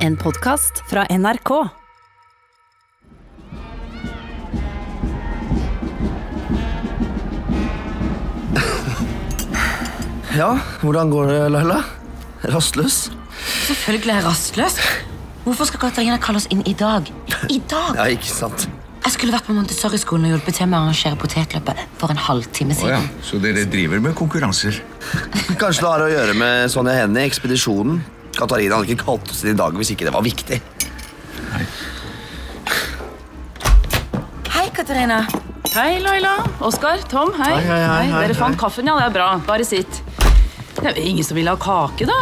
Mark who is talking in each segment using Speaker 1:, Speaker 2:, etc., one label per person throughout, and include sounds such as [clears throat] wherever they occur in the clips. Speaker 1: En podkast fra NRK.
Speaker 2: Ja, hvordan går det, Laila? Rastløs?
Speaker 3: Selvfølgelig er jeg rastløs. Hvorfor skal Katarina kalle oss inn i dag? I dag?
Speaker 2: Ja, ikke sant.
Speaker 3: Jeg skulle vært på Montessori-skolen og hjulpet til med å arrangere potetløpet for en halvtime
Speaker 4: Å ja,
Speaker 3: siden.
Speaker 4: så dere driver med konkurranser?
Speaker 2: Kanskje det har å gjøre med Sonja Henie, ekspedisjonen. Katarina hadde ikke kalt oss inn i dag hvis ikke det var viktig.
Speaker 3: Hei, Katarina.
Speaker 5: Hei, Laila. Oskar. Tom, hei.
Speaker 2: Hei, hei, hei, hei,
Speaker 5: Dere fant
Speaker 2: hei.
Speaker 5: kaffen, ja. Det er bra. Bare sitt. Det er jo ingen som vil ha kake, da.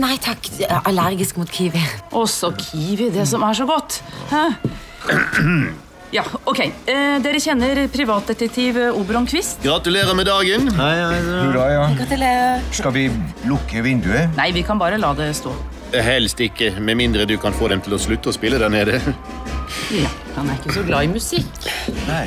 Speaker 3: Nei takk, jeg er allergisk mot kiwi.
Speaker 5: Også kiwi, det som er så godt. Hæ? Ja, ok. Eh, dere kjenner privatdetektiv eh, Oberon Quist?
Speaker 6: [clears throat] Gratulerer med dagen.
Speaker 4: Hurra, ja. Skal vi lukke vinduet?
Speaker 5: Nei, vi kan bare la det stå.
Speaker 6: Helst ikke, med mindre du kan få dem til å slutte å spille der nede.
Speaker 5: Ja, Han er ikke så glad i musikk.
Speaker 4: Nei.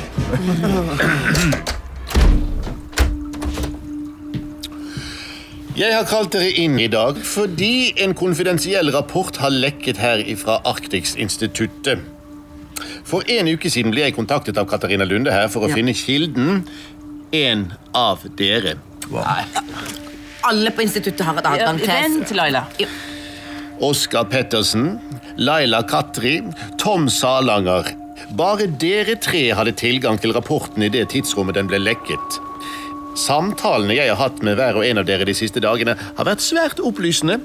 Speaker 6: Jeg har kalt dere inn i dag fordi en konfidensiell rapport har lekket her fra Arktiksinstituttet. For en uke siden ble jeg kontaktet av Katarina Lunde her for å finne kilden. En av dere.
Speaker 3: Alle på instituttet har et
Speaker 5: Ja,
Speaker 3: adgang til
Speaker 5: vent, Laila.
Speaker 6: Oskar Pettersen, Laila Katri, Tom Salanger. Bare dere tre hadde tilgang til rapporten i det tidsrommet den ble lekket. Samtalene jeg har hatt med hver og en av dere de siste dagene, har vært svært opplysende.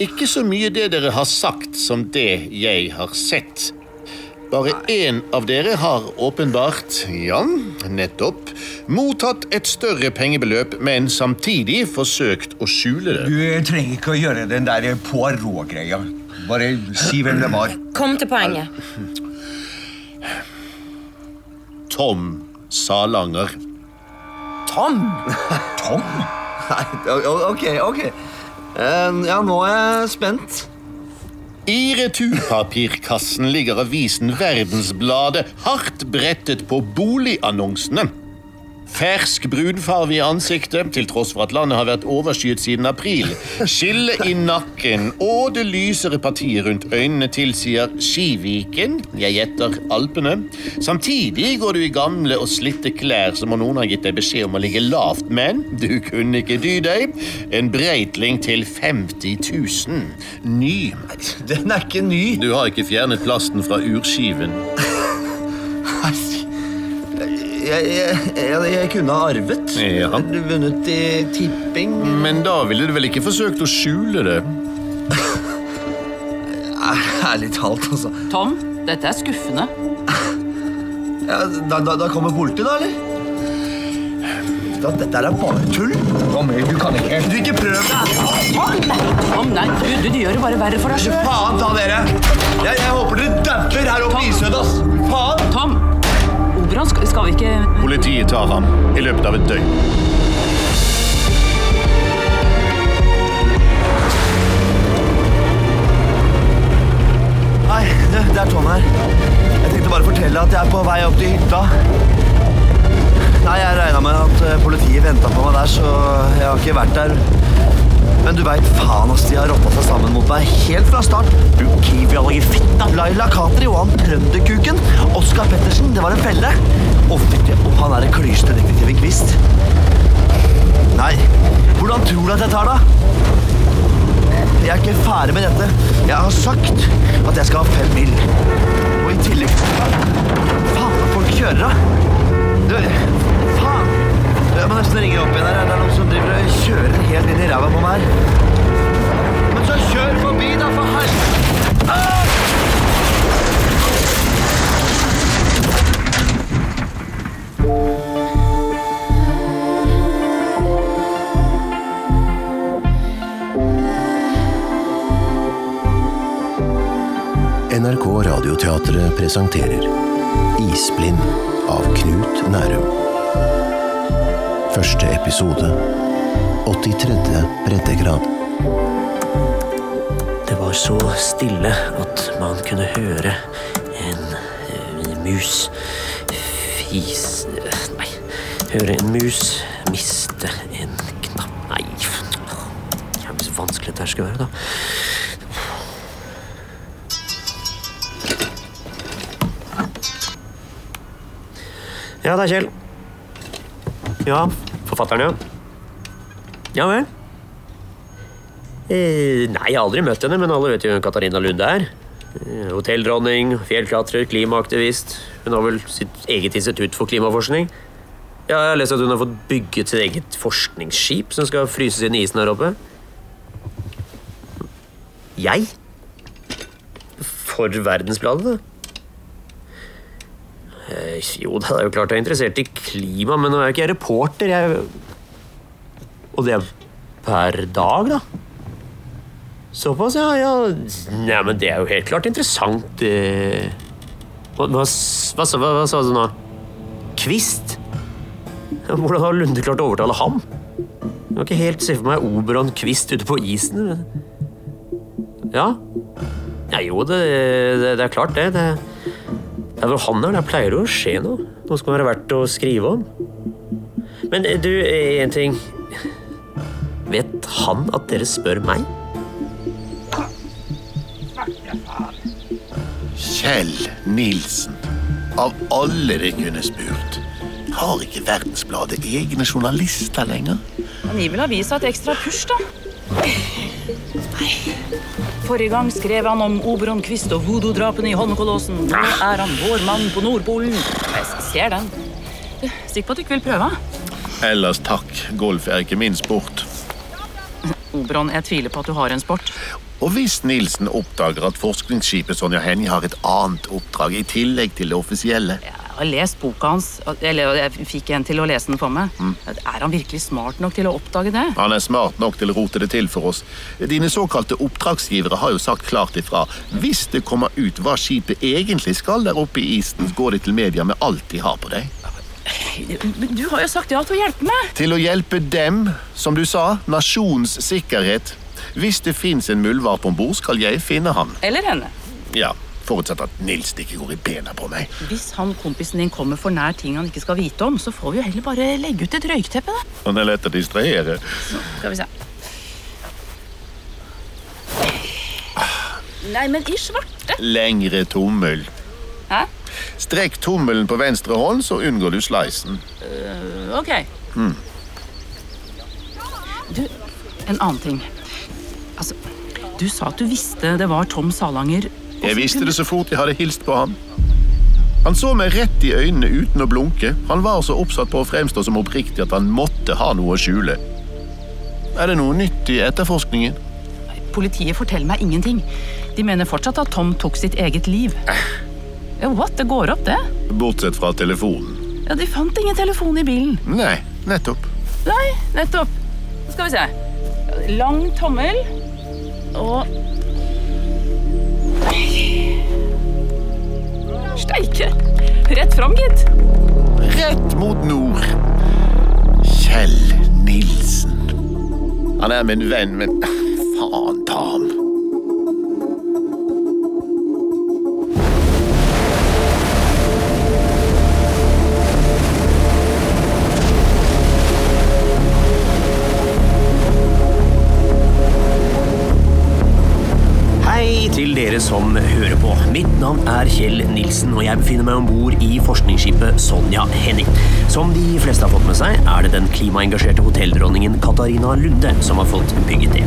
Speaker 6: Ikke så mye det dere har sagt, som det jeg har sett. Bare én av dere har åpenbart, ja, nettopp, mottatt et større pengebeløp, men samtidig forsøkt å skjule det.
Speaker 4: Du trenger ikke å gjøre den der Poirot-greia. Bare si hvem det var.
Speaker 3: Kom til poenget.
Speaker 6: Tom Salanger.
Speaker 4: Tom? Tom?
Speaker 2: Nei, o- o- ok, ok. Eh, ja, nå er jeg spent.
Speaker 6: I returpapirkassen ligger avisen Verdensbladet hardt brettet på boligannonsene. Fersk brunfarve i ansiktet, til tross for at landet har vært overskyet siden april. Skille i nakken og det lysere partiet rundt øynene tilsier Skiviken, jeg gjetter Alpene. Samtidig går du i gamle og slitte klær som om noen har gitt deg beskjed om å ligge lavt, men du kunne ikke dy deg. En breitling til 50 000. Ny.
Speaker 2: Den er ikke ny.
Speaker 6: Du har ikke fjernet plasten fra urskiven.
Speaker 2: Jeg, jeg, jeg, jeg kunne ha arvet.
Speaker 6: Ja.
Speaker 2: Eller Vunnet i tipping.
Speaker 6: Men da ville du vel ikke forsøkt å skjule det?
Speaker 2: Ærlig talt, altså.
Speaker 5: Tom, [laughs] dette er skuffende.
Speaker 2: Ja, da, da, da kommer politiet, da, eller? Da, dette her er bare tull.
Speaker 4: Tom, du kan ikke.
Speaker 2: Du, ikke prøv deg!
Speaker 5: Tom, nei, du, du, du gjør det bare verre for deg sjøl.
Speaker 2: Faen ta dere! Jeg, jeg håper dere dauer her oppe i Isød, ass. Faen!
Speaker 5: Tom! Oberon, skal, skal vi ikke
Speaker 6: Politiet tar ham i løpet av et døgn.
Speaker 2: Hei, du, det er Tom her. Jeg tenkte bare fortelle at jeg er på vei opp til hytta. Nei, jeg regna med at eh, politiet venta på meg der, så jeg har ikke vært der. Men du veit faen, ass. De har rotta seg sammen mot meg helt fra start. Du kiwi-allergi fitta. Laila Katri og han trønderkuken. Oskar Pettersen, det var en felle. Å, fytti opp, han er en klysete detektiv i Kvist. Nei, hvordan tror du at jeg tar det? Jeg er ikke ferdig med dette. Jeg har sagt at jeg skal ha fem mil. Og i tillegg Faen, folk kjører av! Du, faen! Jeg må nesten ringe opp igjen her. Det er noen som driver og kjører helt inn i ræva på meg her. Men så kjør forbi, da, for helvete!
Speaker 7: NRK Radioteatret presenterer Isblind av Knut Nærum. Første episode 83. breddegrad.
Speaker 8: Det var så stille at man kunne høre en eh, mus fis Nei, høre en mus miste en knapp Nei, det er så vanskelig det her skal være, da. Ja, det er Kjell. Ja, forfatteren, ja. Ja vel. Eh, nei, jeg har aldri møtt henne, men alle vet jo hvem Katarina Lunde er. Eh, Hotelldronning, fjellklatrer, klimaaktivist. Hun har vel sitt eget institutt for klimaforskning. Ja, jeg har lest at hun har fått bygget sitt eget forskningsskip som skal fryses inn i isen her oppe. Jeg? For Verdensbladet, da. Eh, Jo, det er jo klart jeg er interessert i klima, men nå er jeg ikke reporter. Jeg... Og det er per dag, da. Såpass, ja. ja. Nei, men det er jo helt klart interessant. det. Hva, hva, s- hva, sa- hva, hva sa du nå? Kvist? Ja, Hvordan har Lunde klart å overtale ham? Jeg kan ikke helt se for meg Oberon Kvist ute på isen. men- Ja. ja jo, det, det, det er klart, det. det. Ja, hvor han er, der pleier det å skje noe. Noe som kan være verdt å skrive om. Men eh, du, eh, en ting. Vet han at dere spør meg?
Speaker 6: Kjell Nilsen, av alle det kunne spurt, har ikke Verdensbladet egne journalister lenger?
Speaker 5: Gi vel avisa et ekstra push, da. Forrige gang skrev han om Oberon Quist og voodoo-drapene i Holmenkollåsen. Nå er han vår mann på Nordpolen. Jeg ser den. Du, Sikker på at du ikke vil prøve?
Speaker 6: Ellers takk, golf er ikke min sport.
Speaker 5: Oberon, jeg tviler på at du har en sport.
Speaker 6: Og hvis Nilsen oppdager at forskningsskipet Sonja Hennie har et annet oppdrag i tillegg til det offisielle
Speaker 5: Jeg har lest boka hans, eller jeg fikk en til å lese den for meg. Er han virkelig smart nok til å oppdage det?
Speaker 6: Han er smart nok til å rote det til for oss. Dine såkalte oppdragsgivere har jo sagt klart ifra. Hvis det kommer ut hva skipet egentlig skal der oppe i isen, går de til media med alt de har på deg.
Speaker 5: Men du har jo sagt ja til å hjelpe meg.
Speaker 6: Til å hjelpe dem, som du sa, nasjonens sikkerhet. Hvis det fins en muldvarp om bord, skal jeg finne han.
Speaker 5: Eller henne.
Speaker 6: Ja, Forutsatt at Nilsen ikke går i bena på meg.
Speaker 5: Hvis han kompisen din kommer for nær ting han ikke skal vite om, så får vi jo heller bare legge ut et røykteppe, da.
Speaker 6: Han er lett å distrahere.
Speaker 5: Skal vi se. Nei, men i svarte.
Speaker 6: Lengre tommel.
Speaker 5: Hæ?
Speaker 6: Strekk tommelen på venstre hånd, så unngår du Hm. sleisen.
Speaker 5: Ok. Du, en annen ting. Altså, du sa at du visste det var Tom Salanger.
Speaker 6: Jeg visste det så fort jeg hadde hilst på ham. Han så meg rett i øynene uten å blunke. Han var så oppsatt på å fremstå som oppriktig at han måtte ha noe å skjule. Er det noe nytt i etterforskningen?
Speaker 5: Politiet forteller meg ingenting. De mener fortsatt at Tom tok sitt eget liv. Ja, what? Det går opp, det.
Speaker 6: Bortsett fra telefonen.
Speaker 5: Ja, De fant ingen telefon i bilen.
Speaker 6: Nei, nettopp.
Speaker 5: Nei, nettopp. Skal vi se. Lang tommel og Steike! Rett fram, gitt.
Speaker 6: Rett mot nord. Kjell Nilsen. Han er min venn, men faen ta ham.
Speaker 8: Hei til dere som hører på. Mitt navn er Kjell Nilsen, og jeg befinner meg om bord i forskningsskipet Sonja Henning. Som de fleste har fått med seg, er det den klimaengasjerte hotelldronningen Katarina Lunde som har fått bygget det.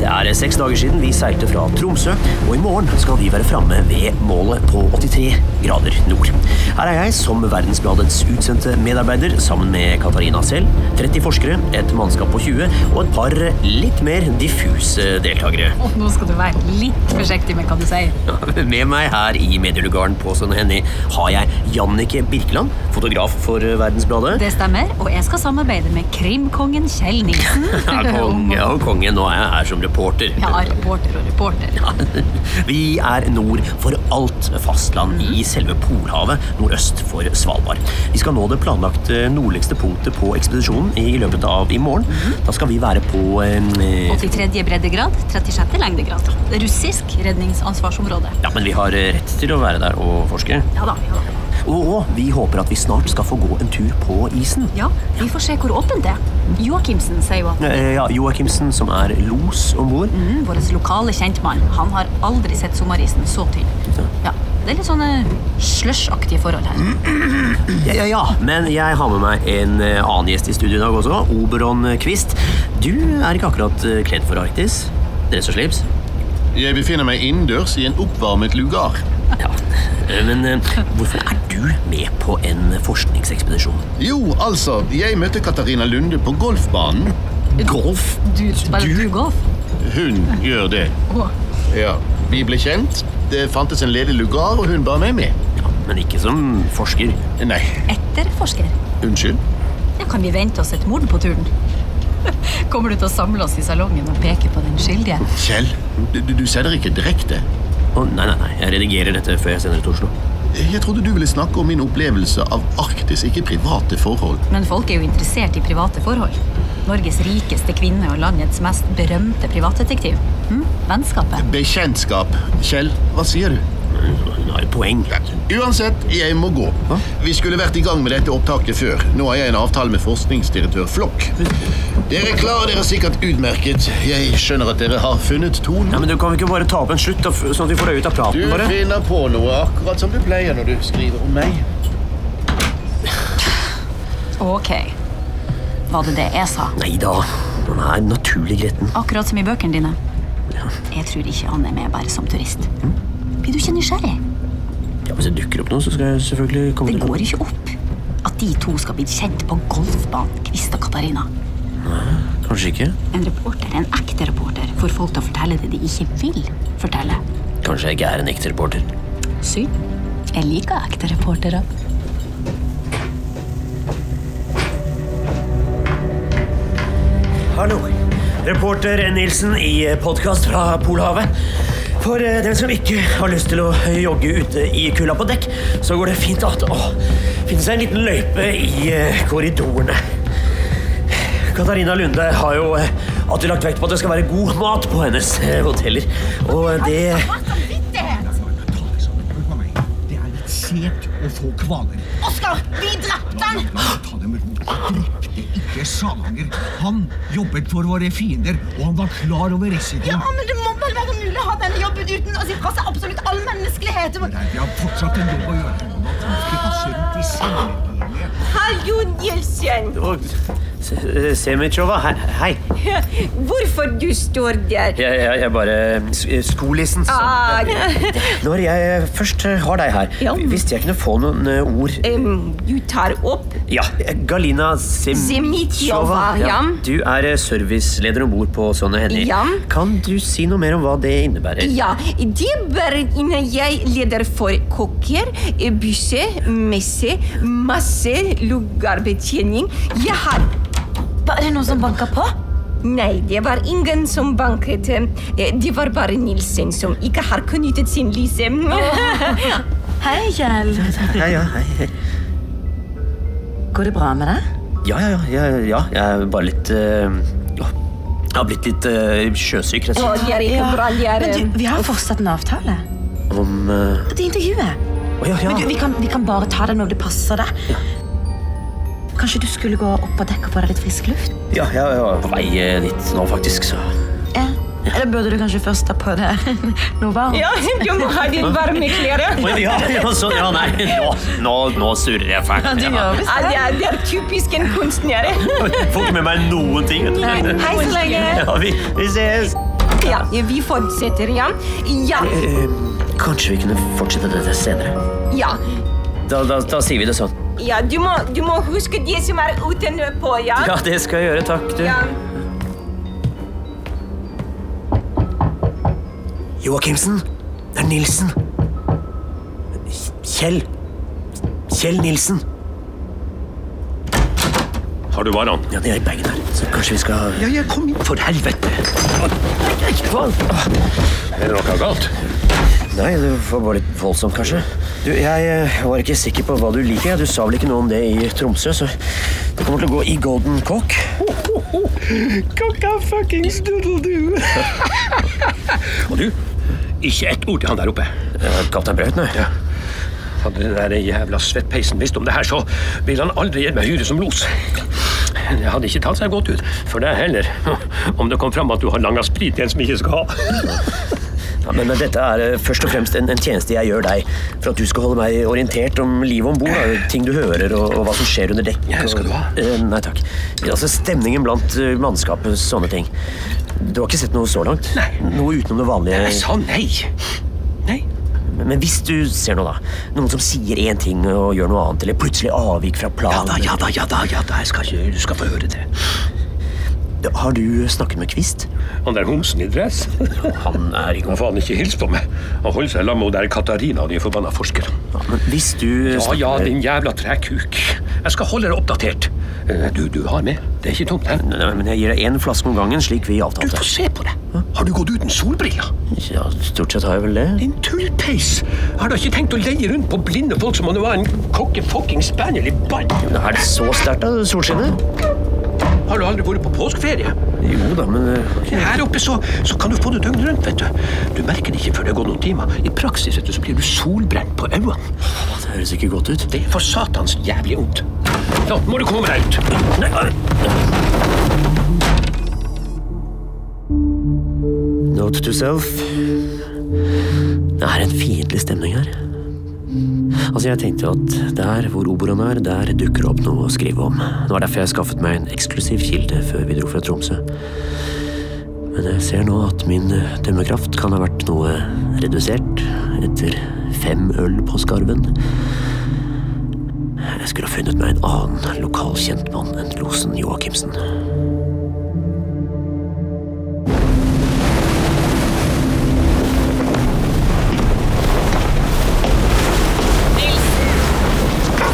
Speaker 8: Det er seks dager siden vi seilte fra Tromsø, og i morgen skal vi være framme ved målet på 83 grader nord. Her er jeg som Verdensbladets utsendte medarbeider sammen med Katarina selv, 30 forskere, et mannskap på 20 og et par litt mer diffuse deltakere.
Speaker 9: Nå skal du være litt forsiktig med hva du sier.
Speaker 8: [laughs] Med meg her i medielugaren på Sønne Henny har jeg Jannike Birkeland, fotograf for eh, Verdensbladet. [laughs]
Speaker 9: Det stemmer, og jeg skal samarbeide med krimkongen Kjell Nilsen.
Speaker 8: Ja, konge og konge, nå er jeg her som reporter.
Speaker 9: Ja, reporter og reporter.
Speaker 8: [laughs] Vi er nord for alt fastland i selve Polhavet, nordøst for Svalbard. Vi skal nå det planlagte eh, nordligste punktet på ekspedisjonen i løpet av i morgen. Da skal vi være på eh,
Speaker 9: 83. breddegrad, 36. lengdegrad. Russisk redningsansvarsområde.
Speaker 8: Ja, men vi har eh, rett til å være der og forske.
Speaker 9: Ja da. Ja, da.
Speaker 8: Og vi håper at vi snart skal få gå en tur på isen.
Speaker 9: ja vi får se hvor åpent det er. Joakimsen sier jo at Mhm,
Speaker 8: Eh, Ja, Joakimsen, som er los om bord.
Speaker 9: mm, vår lokale kjentmann han har aldri sett sommerisen så tynn. Ja. Det er litt sånne slush-aktige forhold her.
Speaker 8: Ja, ja, ja. Men jeg har med meg en eh, annen gjest i studio i dag også. Oberon eh, Kvist. Du er ikke akkurat eh, kledd for Arktis. Dress og slips.
Speaker 6: Jeg befinner meg innendørs i en oppvarmet lugar.
Speaker 8: Ja. Eh, Men eh, hvorfor er du med på en forskningsekspedisjon?
Speaker 6: Jo, altså, jeg møtte Katarina Lunde på golfbanen.
Speaker 8: Golf?
Speaker 9: Du spiller du golf?
Speaker 6: Hun gjør det. Ja, Vi ble kjent. Det fantes en ledig lugar, og hun ba meg med.
Speaker 8: Ja, men ikke som forsker.
Speaker 6: Nei,
Speaker 9: Etterforsker.
Speaker 6: unnskyld.
Speaker 9: Ja, kan vi vente oss et mord på turen? [laughs] Kommer du til å samle oss i salongen og peke på den skyldige?
Speaker 6: Kjell, du, du- du sender ikke direkte.
Speaker 8: Å, nei, nei, nei. Jeg redigerer dette før jeg sender det til Oslo.
Speaker 6: Jeg trodde du ville snakke om min opplevelse av Arktis, ikke private forhold.
Speaker 9: Men folk er jo interessert i private forhold. Norges rikeste kvinne og landets mest berømte privatdetektiv. Hm? Vennskapet.
Speaker 6: Bekjentskap. Kjell, hva sier du?
Speaker 8: Hun har et poeng.
Speaker 6: Uansett, jeg må gå. Vi skulle vært i gang med dette opptaket før. Nå har jeg en avtale med forskningsdirektør Flokk. Dere klarer dere sikkert utmerket. Jeg skjønner at dere har funnet
Speaker 8: Ja,
Speaker 6: tonen.
Speaker 8: men du Kan vi ikke bare ta opp en slutt, da, f- sånn at vi får deg ut av
Speaker 6: Du
Speaker 8: praten? bare?
Speaker 6: finner på noe akkurat som du pleier når du skriver om meg.
Speaker 9: Ok. Var det det jeg sa?
Speaker 8: Nei da. Han er naturlig gretten.
Speaker 9: Akkurat som i bøkene dine. Jeg tror ikke han er med bare som turist. Blir du ikke nysgjerrig?
Speaker 8: Ja, Hvis det dukker opp noe, så skal jeg selvfølgelig komme
Speaker 9: Det
Speaker 8: til
Speaker 9: går ikke opp at de to skal bli kjent på golfbanen, Kvist og Katarina.
Speaker 8: Kanskje ikke.
Speaker 9: En reporter er en ekte reporter får folk til å fortelle det de ikke vil fortelle.
Speaker 8: Kanskje jeg ikke er en ekte reporter.
Speaker 9: Synd. Jeg liker ekte reportere.
Speaker 8: Hallo. Reporter Nilsen i podkast fra Polhavet. For eh, den som ikke har lyst til å jogge ute i kulda på dekk, så går det fint at å finne seg en liten løype i eh, korridorene. Katarina Lunde har jo eh, alltid lagt vekt på at det skal være god mat på hennes eh, hoteller. Og eh, det
Speaker 10: Det er litt sent å få kvaler.
Speaker 11: Oskar, vi drepte han!
Speaker 10: La meg ta det med ro. Han Drepte ikke Salanger. Han jobbet for våre fiender, og han var klar over
Speaker 11: Ja,
Speaker 10: risikoen.
Speaker 11: men det må vel være mulig å ha denne jobben uten å si fra seg absolutt all menneskelighet.
Speaker 10: Nei, vi har fortsatt en jobb å gjøre. Han må ikke passe rundt i sengepengene.
Speaker 11: Haljon Gjelsen,
Speaker 8: og, Se- eh, Semitsjova, hei. hei.
Speaker 11: hvorfor du står der? Ah,
Speaker 8: Jeg, jeg, jeg bare sk- Skolissen. så- Når jeg først eh, har deg her,
Speaker 11: Ja.
Speaker 8: visste jeg kunne få noen eh, ord
Speaker 11: du tar opp
Speaker 8: Ja, Galina Sim
Speaker 11: Zemityova, ja.
Speaker 8: Du er eh, serviceleder om bord på Sonny Henry.
Speaker 11: Ja.
Speaker 8: Kan du si noe mer om hva det innebærer?
Speaker 11: Ja, det bør innan jeg leder for kokker, bysse, messe, masse lugarbetjening. Jeg har
Speaker 12: Var det noen som banka på?
Speaker 11: Nei, det var ingen som banket. Eh, Det var bare Nilsen som ikke har knyttet sin lyse.
Speaker 12: Hei, Kjell.
Speaker 8: Ja, ja, hei, hei.
Speaker 12: Går det bra med deg?
Speaker 8: ja, ja, ja, ja, ja. Jeg er bare litt eh, ja, Jeg har blitt litt eh, sjøsyk, rett og slett.
Speaker 11: Og det er ikke bra, det er
Speaker 12: Men
Speaker 11: eh,
Speaker 12: du, vi har fortsatt en avtale.
Speaker 8: Om eh,
Speaker 12: Det intervjuet.
Speaker 8: Å ja,
Speaker 12: Men du, vi
Speaker 8: ja.
Speaker 12: kan, vi kan bare ta det når det passer deg. Kanskje du skulle gå opp på dekk og få deg litt frisk luft?
Speaker 8: ja, ja, jeg var på vei eh, dit nå, faktisk. Så.
Speaker 12: Ja. Eller burde du kanskje først ta på deg [laughs] noe varmt?
Speaker 11: Ja, du må ha din varme klær.
Speaker 8: Å, Ja, ja, sånn, ja, nei, nå, nå, nå surrer jeg fælt.
Speaker 12: Du gjør visst
Speaker 11: Ja,
Speaker 12: det.
Speaker 11: det er, det er typisk en kunstner.
Speaker 8: Jeg Får ikke med meg noen ting. vet
Speaker 11: Nei,
Speaker 8: du.
Speaker 11: Hei så lenge.
Speaker 8: Ja, vi, vi ses.
Speaker 11: Ja, vi fortsetter, ja. Ja,
Speaker 8: Eh, kanskje vi kunne fortsette dette senere.
Speaker 11: ja.
Speaker 8: Da, da, da sier vi det sånn.
Speaker 11: ja du, må, du må huske det som er utenpå, ja.
Speaker 8: Ja,
Speaker 11: [laughs]
Speaker 8: det skal jeg gjøre. Takk, du.
Speaker 11: ja.
Speaker 8: Joakimsen. Det er Nilsen. Kjell. Kjell Nilsen.
Speaker 6: Har du varan?
Speaker 8: Ja, det er i bagen her. Så kanskje vi skal
Speaker 10: Ja, jeg kom inn.
Speaker 8: For helvete! Hva?
Speaker 6: Er det noe galt?
Speaker 8: Nei, det var bare litt voldsomt, kanskje. Du, jeg eh, var ikke sikker på hva du liker. ja. Du sa vel ikke noe om det i Tromsø, så det kommer til å gå i Golden Cock.
Speaker 10: Kokka fuckings doodle-doo.
Speaker 6: Og du? Ikke ett ord til han der oppe.
Speaker 8: Eh, Kaptein Braut, nei.
Speaker 6: Hadde den der jævla svettpeisen visst om det her, så ville han aldri gitt meg hyre som los. Det hadde ikke tatt seg godt [laughs] ut for deg heller, om det kom fram at du har langa sprit til en som ikke skal ha.
Speaker 8: Ja, men dette er eh, først og fremst en, en tjeneste jeg gjør deg, for at du skal holde meg orientert om livet om bord. Ting du hører, og, og hva som skjer under dekk.
Speaker 4: Ja, skal du ha?
Speaker 8: og- Eh, Nei takk. Altså Stemningen blant eh, mannskapet, sånne ting. Du har ikke sett noe så langt? Nei. Noe utenom det vanlige?
Speaker 4: Jeg sa nei. Nei.
Speaker 8: Men, men hvis du ser noe, da. Noen som sier én ting og gjør noe annet, eller plutselig avvik fra planen
Speaker 4: Ja da, ja da, ja da, jeg skal, ikke- du skal få høre det.
Speaker 8: Har du snakket med Kvist?
Speaker 10: Han der homsen i dress?
Speaker 8: [laughs] Han er ikke
Speaker 10: Han faen ikke hils på meg. Han holder seg sammen med hun der Katarina, de forbanna forskerne.
Speaker 8: Hvis du
Speaker 10: Ja
Speaker 8: snakker
Speaker 10: ja,
Speaker 8: med-
Speaker 10: din jævla trekuk. Jeg skal holde deg oppdatert. Eh, Du, du har med. Det er ikke tomt her.
Speaker 8: Nei, men jeg gir deg én flaske om gangen, slik vi avtalte.
Speaker 10: Du får se på det. Har du gått uten solbriller?
Speaker 8: Ja, stort sett har jeg vel det.
Speaker 10: Din tullpeis! Har du ikke tenkt å leie rundt på blinde folk som om du var en kokke-fucking spaniel i ball?
Speaker 8: Er det så sterkt, da, solskinnet?
Speaker 10: Har du aldri vært på påskeferie?
Speaker 8: Jo da, men eh,
Speaker 10: Her oppe så, så kan du få det døgnet rundt, vet du. Du merker det ikke før det har gått noen timer. I praksis vet du, så blir du solbrent på øynene.
Speaker 8: Det høres ikke godt ut.
Speaker 10: Det er for satans jævlig ondt. Nå må du komme deg ut.
Speaker 8: Nei, ar- Note to self. Det er en fiendtlig stemning her. Altså, jeg tenkte at der hvor oboen er, der dukker det opp noe å skrive om. Det var derfor jeg skaffet meg en eksklusiv kilde før vi dro fra Tromsø. Men jeg ser nå at min eh, dømmekraft kan ha vært noe redusert etter fem øl på skarven. Jeg skulle ha funnet meg en annen lokal kjentmann enn losen Joakimsen.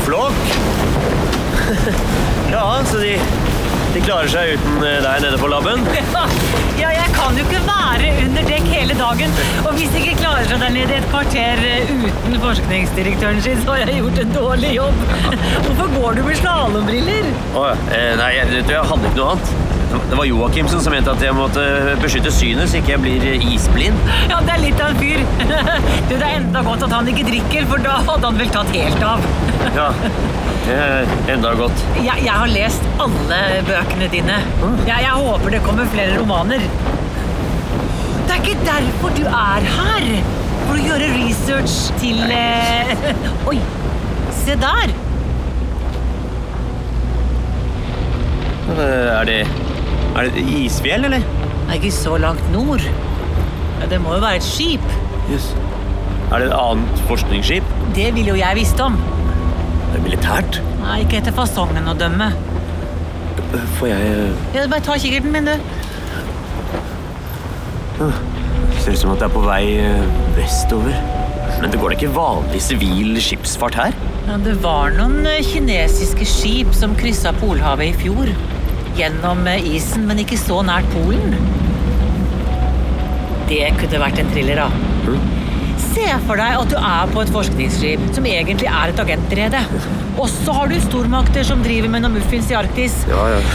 Speaker 2: Flokk!
Speaker 8: [laughs] Ja, så de, de klarer seg uten eh, deg nede på labben?
Speaker 13: Ja, jeg kan jo ikke være under dekk hele dagen. Og hvis jeg ikke klarer seg der nede et kvarter eh, uten forskningsdirektøren sin, så har jeg gjort en dårlig jobb. Hvorfor går du med slalåmbriller?
Speaker 8: Åja, eh, nei, jeg, vet du, jeg hadde ikke noe annet. Det- Det var Joakimsen som mente at jeg måtte eh, beskytte synet så ikke jeg blir eh, [laughs] isblind.
Speaker 13: Ja, det er litt av en fyr. Du, det er enda godt at han ikke drikker, for da hadde han vel tatt helt av.
Speaker 8: Ja, det er enda godt.
Speaker 13: Jeg, jeg har lest alle bøkene dine.
Speaker 8: Ah.
Speaker 13: Jeg, jeg håper det kommer flere romaner. Det er ikke derfor du er her. For å gjøre research til eh... [laughs] Oi, se der.
Speaker 8: Eh, Er det, er det isfjell, eller?
Speaker 13: Det er ikke så langt nord. Ja, Det må jo være et skip.
Speaker 8: Yes. Er det et annet forskningsskip?
Speaker 13: Det ville jo jeg visst om.
Speaker 8: Er det militært?
Speaker 13: Nei, ikke etter fasongen å dømme.
Speaker 8: Eh, Får jeg... eh,
Speaker 13: Ja, bare ta kikkerten min, du.
Speaker 8: Ser ut som at det er på vei eh, vestover. Men det går da ikke vanlig sivil skipsfart her?
Speaker 13: Ja, det var noen eh, kinesiske skip som kryssa Polhavet i fjor. Gjennom eh, isen, men ikke så nært Polen. Det kunne vært en thriller, da.
Speaker 8: Mm,
Speaker 13: Se for deg at du er på et forskningsskip som egentlig er et agentrede. Og så har du stormakter som driver med noen muffins i Arktis.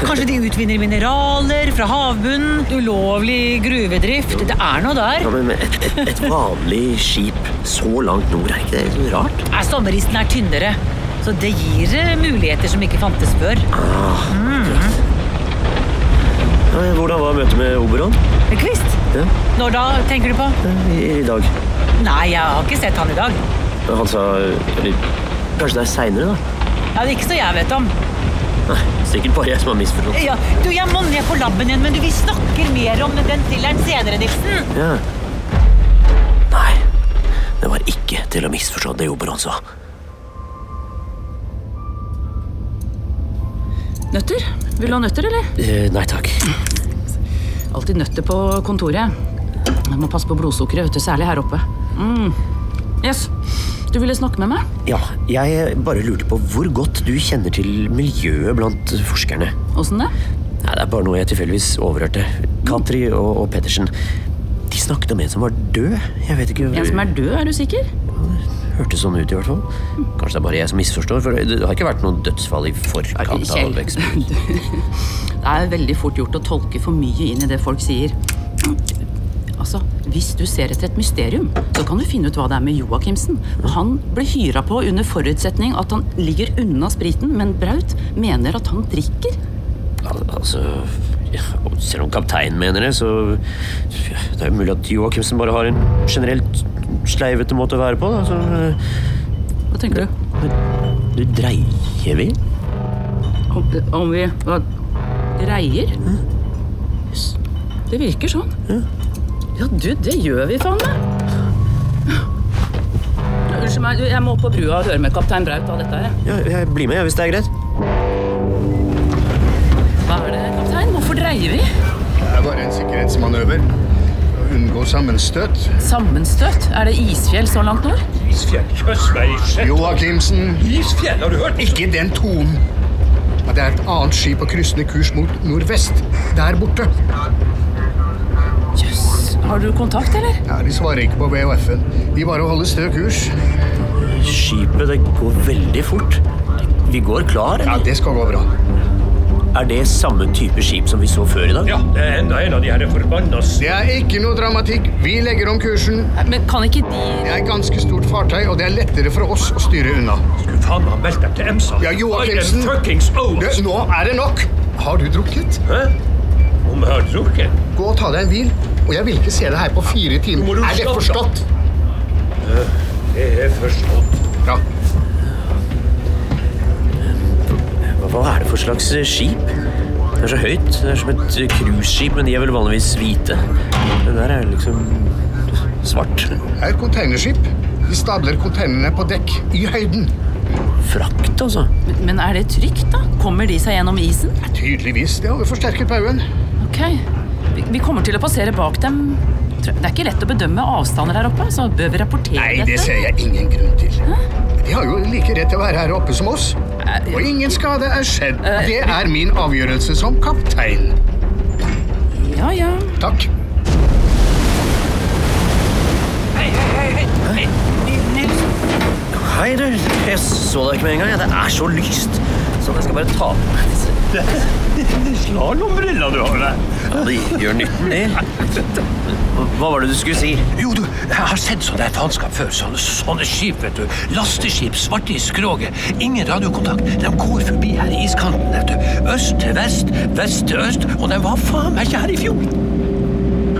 Speaker 13: Kanskje de utvinner mineraler fra havbunnen, ulovlig gruvedrift. Det er noe
Speaker 8: [laughs]
Speaker 13: der.
Speaker 8: Ja, men men et, et, et vanlig skip så langt nord, er ikke det litt rart?
Speaker 13: Nei, sommerisen er tynnere, så det gir eh, muligheter som ikke fantes før.
Speaker 8: Ah,
Speaker 13: Mm.
Speaker 8: Ja, men Hvordan var møtet med Oberon?
Speaker 13: Eh, Kvist,
Speaker 8: Ja,
Speaker 13: når da tenker du på?
Speaker 8: i, Eh, I dag.
Speaker 13: Nei, jeg har ikke sett han i dag.
Speaker 8: Han sa Eller kanskje det er seinere, da?
Speaker 13: Ja, det er ikke så jeg vet om.
Speaker 8: Nei, sikkert bare jeg som har misforstått.
Speaker 13: Ja, du, jeg må ned på labben igjen, men du, vi snakker mer om den thrilleren senere, Nilsen.
Speaker 8: Ja. Nei, det var ikke til å misforstå det Oberon sa.
Speaker 5: Nøtter? Vil du ha nøtter, eller?
Speaker 8: Eh, nei takk.
Speaker 5: Alltid nøtter på kontoret. Jeg må passe på blodsukkeret, vet du, særlig her oppe. Mm. Yes. Du ville snakke med meg?
Speaker 8: Ja, jeg bare lurte på hvor godt du kjenner til miljøet blant forskerne.
Speaker 5: Åssen det?
Speaker 8: Nei, det er bare noe jeg tilfeldigvis overhørte. Katri og, og Pettersen. De snakket om en som var død. Jeg vet ikke
Speaker 5: En som er død, er du sikker?
Speaker 8: Hørtes sånn ut, i hvert fall. Kanskje det er bare jeg som misforstår, for det, det har ikke vært noen dødsfall i forkant av
Speaker 5: Kjell.
Speaker 8: vekst.
Speaker 5: [laughs] Det er veldig fort gjort å tolke for mye inn i det folk sier. Altså, Hvis du ser etter et mysterium, så kan du finne ut hva det er med Joakimsen. Han ble hyra på under forutsetning at han ligger unna spriten, men Braut mener at han drikker.
Speaker 8: Al altså og Selv om kapteinen mener det, så Det er jo mulig at Joachimsen bare har en generelt sleivete måte å være på, da. Så,
Speaker 5: Hva tenker du?
Speaker 8: du dreier vi?
Speaker 5: Om, om vi hva, dreier? Jøss, Det virker sånn. Ja, du, det gjør vi faen meg. Unnskyld meg, du, jeg må opp på brua og høre med kaptein Braut av dette her.
Speaker 8: Ja, jeg blir med, jeg, hvis det er greit.
Speaker 5: Hva er det, kaptein? Hvorfor dreier vi?
Speaker 14: Det er bare en sikkerhetsmanøver. Å Unngå sammenstøt.
Speaker 5: Sammenstøt? Er det isfjell så langt nord?
Speaker 14: Isfjell? Jøss, hva i sjette Joakimsen! Isfjell, har du hørt? Ikke den tonen! Ja, Det er et annet skip på kryssende kurs mot nordvest. Der borte.
Speaker 5: Jøss. Har du kontakt, eller?
Speaker 14: Ja, De svarer ikke på VHF-en. De bare holder stø kurs.
Speaker 8: Skipet det går veldig fort. Vi går klar, eller? Ja,
Speaker 14: det skal gå bra.
Speaker 8: Er det samme type skip som vi så før i dag? Ja,
Speaker 15: det er enda en av de her forbanna
Speaker 14: Det er ikke noe dramatikk. Vi legger om kursen.
Speaker 5: Men kan ikke de
Speaker 14: Det er et ganske stort fartøy, og det er lettere for oss å styre unna. Skulle faen meg meldt deg til EMSA. Ja, Joakimsen. Du, nå er det nok! Har du drukket? Hæ? Om jeg har drukket? Gå og ta deg en hvil. Og jeg vil ikke se deg her på fire timer. Er det forstått?
Speaker 15: Det er forstått.
Speaker 14: Ja.
Speaker 8: Hva- Hva er det for slags eh, skip? Det er så høyt. Det er som et eh, cruiseskip, men de er vel vanligvis hvite. Det der er liksom svart.
Speaker 14: Det er et containerskip. De stabler containerne på dekk i høyden.
Speaker 8: Frakt, altså?
Speaker 5: Men, men er det trygt, da? Kommer de seg gjennom isen?
Speaker 14: Tydeligvis. Det har jo forsterket baugen.
Speaker 5: Ok. Vi, vi kommer til å passere bak dem. Tror- Det er ikke lett å bedømme avstander her oppe, så bør vi rapportere
Speaker 14: Nei,
Speaker 5: dette?
Speaker 14: det ser jeg ingen grunn til. De har jo like rett til å være her oppe som oss. Og ingen skade er skjedd.
Speaker 5: Eh.
Speaker 14: Det er min avgjørelse som kaptein.
Speaker 5: Ja, ja.
Speaker 14: Takk.
Speaker 15: Hei, hei, hei, hei! Nils!
Speaker 8: Hei, du. Jeg så deg ikke med en gang. jeg. Det er så lyst. Sånn, jeg skal bare ta på meg disse.
Speaker 15: [laughs] Slalåmbriller du har der.
Speaker 8: Ja, de gjør nytten, de. Hva var det du skulle si?
Speaker 10: Jo, du, jeg har sett sånn der faenskap før. Sånne, sånne skip, vet du. Lasteskip, svarte i skroget. Ingen radiokontakt. De går forbi her i iskanten, vet du. Øst til vest, vest til øst. Og de var faen meg ikke her i fjor.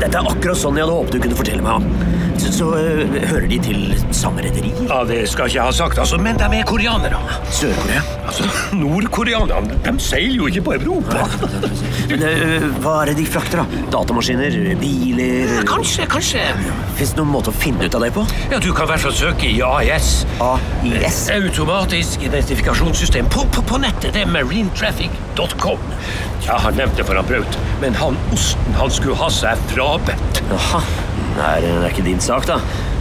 Speaker 8: Dette er akkurat sånn jeg hadde håpet du kunne fortelle meg om. Så, så eh, hører de til samme rederi?
Speaker 15: Ja, det skal ikke jeg ha sagt, altså, men de er koreanere.
Speaker 8: Sør-Korea?
Speaker 15: Altså, Nordkoreanerne, de seiler jo ikke på Europa.
Speaker 8: Men eh, hva er det de frakter, da? Datamaskiner? Biler?
Speaker 10: Eh, Kanskje, kanskje.
Speaker 8: Fins det noen måte å finne ut av det på?
Speaker 10: Ja, Du kan i hvert fall søke i AIS.
Speaker 8: AIS?
Speaker 10: Automatisk identifikasjonssystem. På, på, på nettet. Det er marinetraffic.com.
Speaker 15: Jeg har nevnt det for han Braut, men han osten han skulle ha seg frabedt.
Speaker 8: Jaha. Nei, det er ikke din sak, da.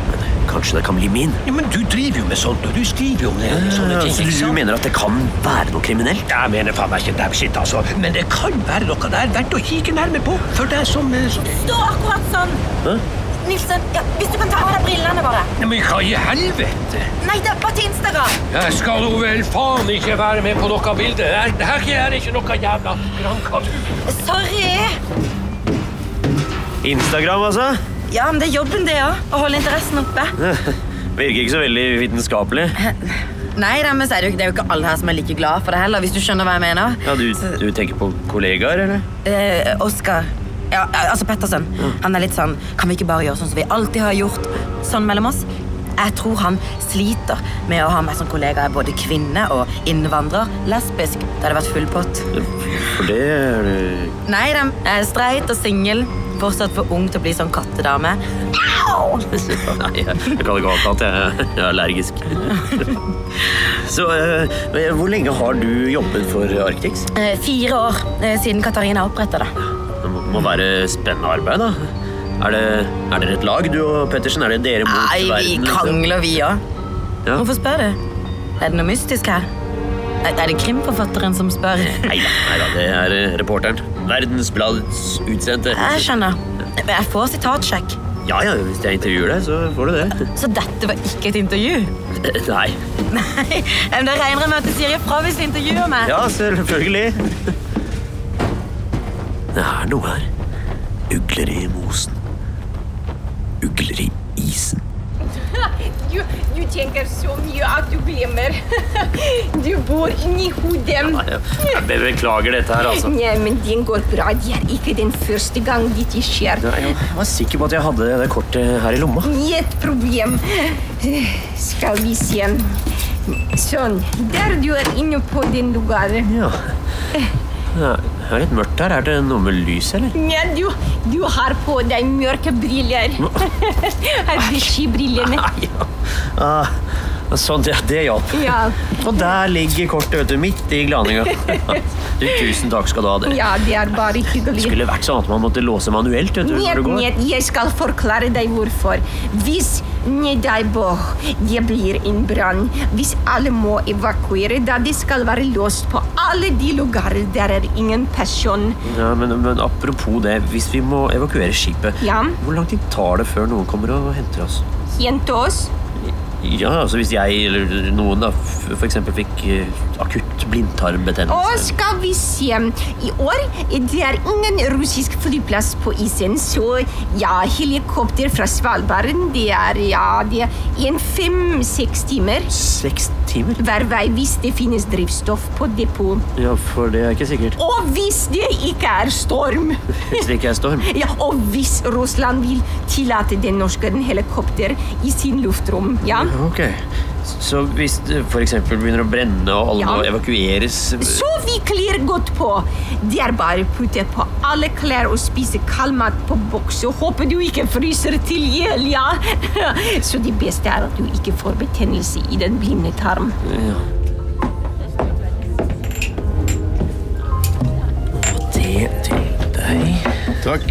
Speaker 8: Men kanskje det kan bli min?
Speaker 10: Ja, men du driver jo med sånt, og du skriver jo om det. og sånne ting,
Speaker 8: så
Speaker 10: ikke
Speaker 8: du
Speaker 10: sant?
Speaker 8: mener at det kan være noe kriminelt?
Speaker 10: Jeg mener faen meg ikke dem skitt, altså. Men det kan være noe der verdt å kikke nærmere på. For deg som, eh, som
Speaker 3: Stå akkurat sånn!
Speaker 8: Hæ?
Speaker 3: Nilsen, ja, hvis du kan ta av deg brillene bare.
Speaker 10: Nei, Men hva i helvete?
Speaker 3: Nei, det er bare til Instagram.
Speaker 15: Jeg skal jo vel faen ikke være med på noe bilde. Her, her er ikke noe jævla grankatur.
Speaker 3: Sorry.
Speaker 8: Instagram, [laughs] altså?
Speaker 3: Ja, men det er jobben det, ja. Å holde interessen oppe.
Speaker 8: Virker ikke så veldig vitenskapelig.
Speaker 12: Nei, da, men så er det, jo, det er jo ikke alle her som er like glad for det heller, hvis du skjønner hva jeg mener.
Speaker 8: Ja, du, du tenker på kollegaer, eller?
Speaker 12: Eh, Oskar. Ja, altså Pettersen. Han er litt sånn Kan vi ikke bare gjøre sånn som vi alltid har gjort? Sånn mellom oss. Jeg tror han sliter med å ha meg som kollega er både kvinne og innvandrer. Lesbisk. Det hadde vært full pott.
Speaker 8: For det er det
Speaker 12: Nei da, jeg er streit og singel. Fortsatt for ung til å bli sånn kattedame.
Speaker 8: [laughs]
Speaker 12: Au!
Speaker 8: Nei, jeg jeg kan ikke ha katt. Jeg, jeg er [laughs] allergisk. Så eh, hvor lenge har du jobbet for Arctix?
Speaker 12: Eh, Fire år eh, siden Katarina oppretta det.
Speaker 8: Det må, må være spennende arbeid, da. Er, det, er dere et lag, du og Pettersen? Er det dere mot
Speaker 12: Nei, vi
Speaker 8: verden? liksom?
Speaker 12: krangler vi òg.
Speaker 8: Ja.
Speaker 12: Hvorfor spør du? Er det noe mystisk her? Er er det krimforfatteren som spør?
Speaker 8: Nei da, nei da, det er eh, reporteren. Verdensbladets utsendte.
Speaker 12: Jeg skjønner. Men jeg får sitatsjekk.
Speaker 8: Ja, ja, hvis jeg intervjuer deg, så får du det. [laughs]
Speaker 12: Så dette var ikke et intervju?
Speaker 8: Eh, Nei.
Speaker 12: Nei, men Da regner jeg med at du sier ifra hvis du intervjuer meg.
Speaker 8: Ja, selvfølgelig. Det er noe her. Ugler i mosen. Ugler i isen.
Speaker 11: you, you tenker så mye at du glemmer. [laughs] Du bor inni hodet.
Speaker 16: Jeg be- beklager dette her, altså.
Speaker 11: Nei, men det går bra. Det er ikke den første gang dette skjer.
Speaker 16: Nei,
Speaker 8: Jeg var sikker på at jeg hadde det kortet her i lomma.
Speaker 11: Ikke et problem. Skal vi se. Sånn. Der du er inne på den lugaren.
Speaker 8: Det er- det er litt mørkt her. Er det noe med lys, eller?
Speaker 11: Nei, du, du har på deg mørke briller. [laughs] Har du skibrillene?
Speaker 8: Ah, sånn, det, det hjalp.
Speaker 11: Ja.
Speaker 8: Og der ligger kortet, vet du. Midt i glaninga. Du, tusen takk skal du ha, dere.
Speaker 11: ja, det er bare
Speaker 8: Det
Speaker 11: hyggelig.
Speaker 8: skulle vært sånn at man måtte låse manuelt, vet du.
Speaker 11: Нет,
Speaker 8: Når du går.
Speaker 11: нет, jeg skal forklare deg hvorfor. Hvis, ne deg bog, det blir en brann, hvis alle må evakuere, da det skal være låst på alle de lugarer der er ingen person.
Speaker 8: Ja, men, men apropos det. Hvis vi må evakuere skipet,
Speaker 11: Ja.
Speaker 8: hvor lang tid tar det før noen kommer og henter oss?
Speaker 11: Hent oss.
Speaker 8: Ja, altså Hvis jeg eller noen da, f- for eksempel fikk eh, akutt blindtarmbetennelse
Speaker 11: Og skal vi se I år eh, det er ingen russisk flyplass på isen, så ja, helikopter fra Svalbard det er ja, det er en fem-seks timer.
Speaker 8: Seks timer?
Speaker 11: Hver vei hvis det finnes drivstoff på depot.
Speaker 8: Ja, for det er ikke sikkert.
Speaker 11: Og hvis det ikke er storm!
Speaker 8: Hvis det ikke
Speaker 11: [laughs]
Speaker 8: er [laughs] storm.
Speaker 11: Ja, Og hvis Russland vil tillate den norske helikopter i sin luftrom. ja?
Speaker 8: Ok. Så hvis det for eksempel begynner å brenne og alle
Speaker 11: Ja.
Speaker 8: må evakueres
Speaker 11: Så vi kler godt på. Det er bare å putte på alle klær og spise kald mat på boks. Og håper du ikke fryser til hjel, ja. [laughs] Så det beste er at du ikke får betennelse i den blinde tarm.
Speaker 8: Ja. Og det til deg.
Speaker 6: Takk.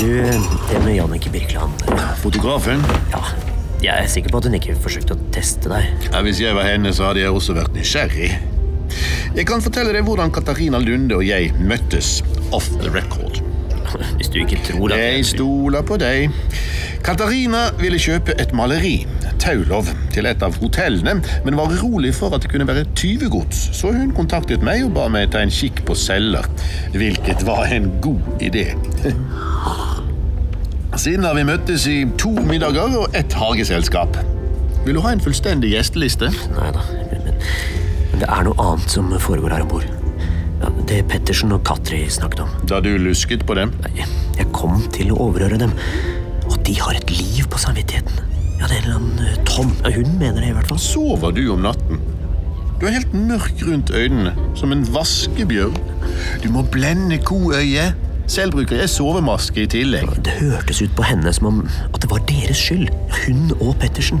Speaker 8: Du, det med Jannicke Birkeland
Speaker 6: Fotografen?
Speaker 8: Ja. Jeg er sikker på at hun ikke forsøkte å teste deg.
Speaker 6: Ja, hvis jeg var henne, så hadde jeg også vært nysgjerrig. Jeg kan fortelle deg hvordan Katarina Lunde og jeg møttes off the record.
Speaker 8: Hvis du ikke tror
Speaker 6: at Jeg stoler på deg. Katarina ville kjøpe et maleri, Taulov, til et av hotellene, men var urolig for at det kunne være tyvegods, så hun kontaktet meg og ba meg ta en kikk på celler, hvilket var en god idé. Siden har vi møttes i to middager og ett hageselskap. Vil du ha en fullstendig gjesteliste?
Speaker 8: Nei da. Men det er noe annet som foregår her om bord. Ja, det Pettersen og Katri snakket om.
Speaker 6: Da du lusket på dem?
Speaker 8: Nei, jeg kom til å overhøre dem. Og de har et liv på samvittigheten. Ja, det er en eller annen eh, Tom. Ja, Hun mener det, i hvert fall.
Speaker 6: Sover du om natten? Du er helt mørk rundt øynene, som en vaskebjørn. Du må blende koøyet. Selv bruker jeg sovemaske i tillegg.
Speaker 8: Det hørtes ut på henne som om at det var deres skyld. Hun og Pettersen.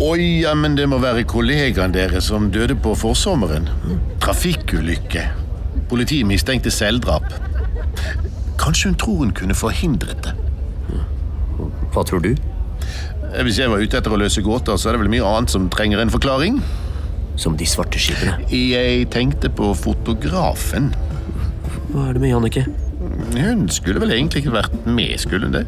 Speaker 6: Oi, ja, men det må være kollegaen deres som døde på forsommeren. Trafikkulykke. Politiet mistenkte selvdrap. Kanskje hun tror hun kunne forhindret det.
Speaker 8: Hva tror du?
Speaker 6: Eh, Hvis jeg var ute etter å løse gåter, så er det vel mye annet som trenger en forklaring?
Speaker 8: Som de svarte skipene?
Speaker 6: Jeg tenkte på fotografen.
Speaker 8: Hva er det med Jannicke?
Speaker 6: Hun skulle vel egentlig ikke vært med, skulle hun det?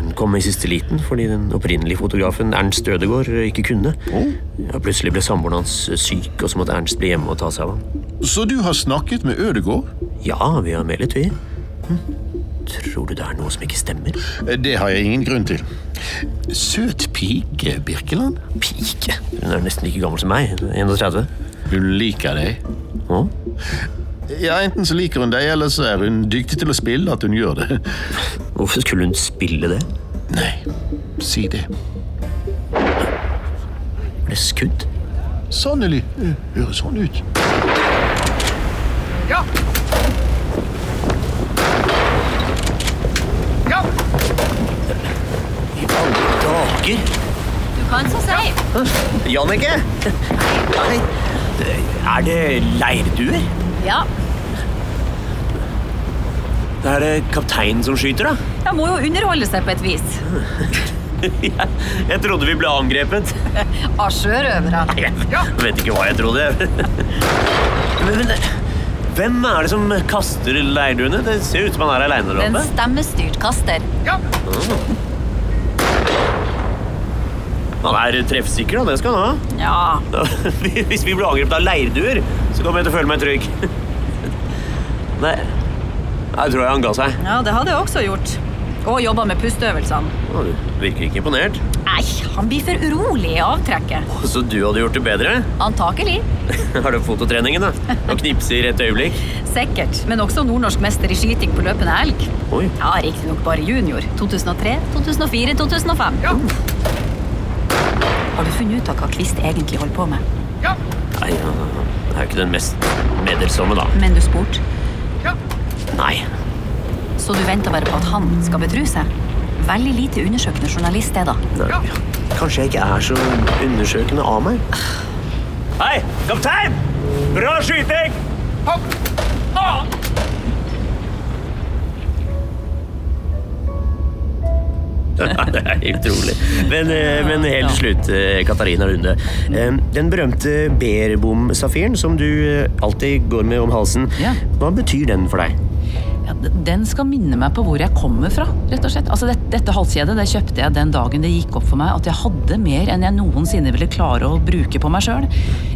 Speaker 8: Hun kom i siste liten fordi den opprinnelige fotografen Ernst Ødegård ikke kunne. Ja, plutselig ble samboeren hans eh, syk, og så måtte Ernst bli hjemme og ta seg av ham.
Speaker 6: Så du har snakket med Ødegård?
Speaker 8: Ja, vi har meldet, vi. Tror du det er noe som ikke stemmer?
Speaker 6: Det har jeg ingen grunn til. Søt pike, Birkeland.
Speaker 8: Pike? Hun er nesten like gammel som meg. 31.
Speaker 6: Hun liker deg.
Speaker 8: Å?
Speaker 6: Ja, Enten så liker hun deg, eller så er hun dyktig til å spille at hun gjør det.
Speaker 8: Hvorfor skulle hun spille det?
Speaker 6: Nei, si det.
Speaker 8: Ble skudd?
Speaker 6: Sannelig. Det Høres sånn ut.
Speaker 4: Ja! Ja!
Speaker 8: Dager!
Speaker 9: Du kan så si.
Speaker 8: Jannicke! Nei. Er det leirduer?
Speaker 9: Ja.
Speaker 8: Da er det kapteinen som skyter, da.
Speaker 9: De må jo underholde seg på et vis.
Speaker 8: Jeg, jeg trodde vi ble angrepet.
Speaker 9: Av sjørøvere.
Speaker 8: Jeg vet ikke hva jeg trodde. Men, men eh, hvem er det som kaster leirduene? Det ser ut som han er aleine der
Speaker 9: En
Speaker 8: oppe.
Speaker 9: stemmestyrt kaster.
Speaker 8: Mm. Han er treffsikker, da. Det skal han ha. [laughs]
Speaker 9: Ja.
Speaker 8: Hvis vi blir angrepet av leirduer, så kommer jeg til å føle meg trygg. [laughs] Nei, jeg tror jeg han ga seg.
Speaker 9: Ja, det hadde jeg også gjort. Og jobba med pusteøvelsene.
Speaker 8: Å, Du virker ikke imponert.
Speaker 9: Æsj, han blir for urolig i avtrekket.
Speaker 8: Så du hadde gjort det bedre? [laughs]
Speaker 9: Antakelig.
Speaker 8: Har du fototreningen, da? Og knipser et øyeblikk?
Speaker 9: Sikkert. Men også nordnorsk mester i skyting på løpende elg.
Speaker 8: Oi.
Speaker 9: Ja, Riktignok bare junior. 2003, 2004, 2005. Har du funnet ut av hva Kvist egentlig holder på med?
Speaker 8: Nei, han er jo ikke den mest medelsomme, da.
Speaker 9: Men du spurte.
Speaker 8: Nei.
Speaker 9: Så du venter bare på at han skal betru seg? Veldig lite undersøkende journalist, det da.
Speaker 8: Nei. Kanskje jeg ikke er så undersøkende av meg?
Speaker 16: Hei, kaptein! Bra skyting!
Speaker 8: det er helt utrolig. Men, eh, men helt til slutt, eh, Katarina Lunde. Eh, Den berømte Berbom-safiren som du eh, alltid går med om halsen, hva betyr den for deg? [laughs]
Speaker 5: Ja, d- den skal minne meg på hvor jeg kommer fra, rett og slett. Altså, det, dette halskjedet det kjøpte jeg den dagen det gikk opp for meg at jeg hadde mer enn jeg noensinne ville klare å bruke på meg sjøl.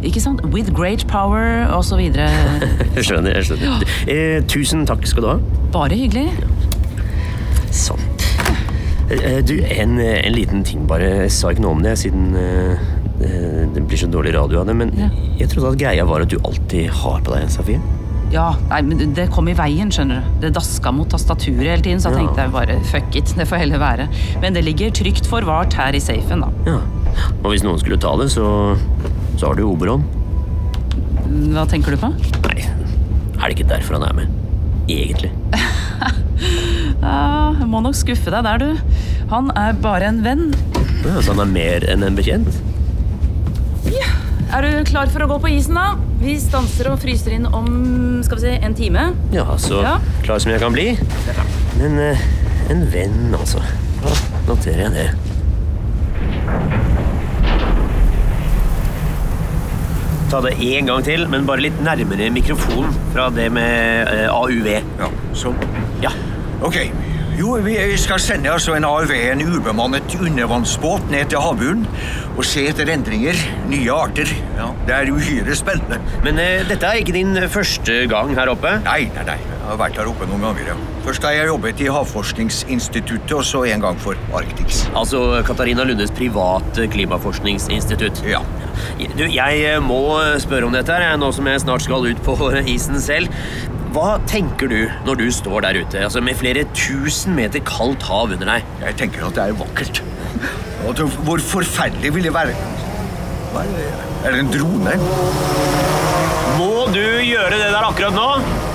Speaker 5: Ikke sant? With great power, og så videre.
Speaker 8: Jeg skjønner. jeg skjønner. Eh, Tusen takk skal du ha.
Speaker 5: Bare hyggelig.
Speaker 8: Sånn. Eh, eh, Du, en, eh, en liten ting bare. Jeg sa ikke noe om det siden eh, eh, det blir så dårlig radio av det, men jeg trodde at greia var at du alltid har på deg en safir.
Speaker 5: Ja, nei, men det kom i veien, skjønner du. Det daska mot tastaturet hele tiden, så jeg
Speaker 8: Ja.
Speaker 5: tenkte jeg bare fuck it, det får heller være. Men det ligger trygt forvart her i safen, da.
Speaker 8: Ja. Og hvis noen skulle ta det, så, så har du Oberon.
Speaker 5: Hva tenker du på?
Speaker 8: Nei, er det ikke derfor han er med? Egentlig.
Speaker 5: Ja, jeg må nok skuffe deg der, du. Han er bare en venn.
Speaker 8: Ja, så han er mer enn en bekjent?
Speaker 17: Er du klar for å gå på isen, da? Vi stanser og fryser inn om skal vi si, en time.
Speaker 8: Ja, så
Speaker 17: Ja.
Speaker 8: klar som jeg kan bli. Men eh, en venn, altså. Da noterer jeg det. Ta det én gang til, men bare litt nærmere mikrofonen fra det med eh, AUV. Ja, sånn. Ja.
Speaker 10: Ok. Jo, vi skal sende altså en AUV, en ubemannet undervannsbåt, ned til havbunnen og se etter endringer, nye arter. Ja, det er uhyre spennende.
Speaker 8: Men eh, dette er ikke din første gang her oppe?
Speaker 10: Nei, nei, nei. Jeg har vært her oppe noen ganger, ja. Først har jeg jobbet i Havforskningsinstituttet, og så en gang for Arctics.
Speaker 8: Altså Katarina Lundes private klimaforskningsinstitutt. Ja. Du, jeg eh, må spørre om dette her, jeg, nå som jeg snart skal ut på [laughs] isen selv. Hva tenker du når du står der ute, altså med flere tusen meter kaldt hav under deg?
Speaker 10: Jeg tenker at det er vakkert. Og at hvor forferdelig vil det være? Hva er det? Er det en drone?
Speaker 8: Må du gjøre det der akkurat nå?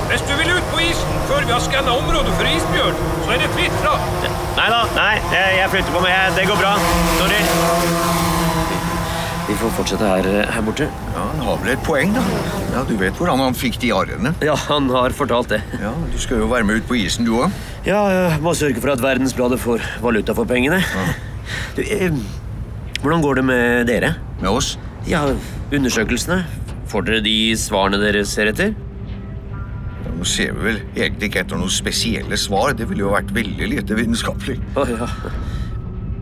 Speaker 15: Hvis du vil ut på isen før vi har skanna området for isbjørn, så er det fritt fram.
Speaker 8: Nei da, nei, jeg, jeg flytter på meg. Jeg- Det går bra. Sorry. Vi får fortsette her, her borte.
Speaker 10: Ja, Han har vel et poeng, da. Ja, Du vet hvordan han fikk de arrene?
Speaker 8: Ja, han har fortalt det.
Speaker 10: Ja, Du skal jo være med ut på isen, du òg.
Speaker 8: Ja, jeg må sørge for at Verdensbladet får valuta for pengene. Du, eh, hvordan går det med dere?
Speaker 10: Med oss?
Speaker 8: Ja, undersøkelsene. Får dere de svarene dere ser etter?
Speaker 10: Nå ser vi vel egentlig ikke etter noen spesielle svar. Det ville jo vært veldig lite vitenskapelig.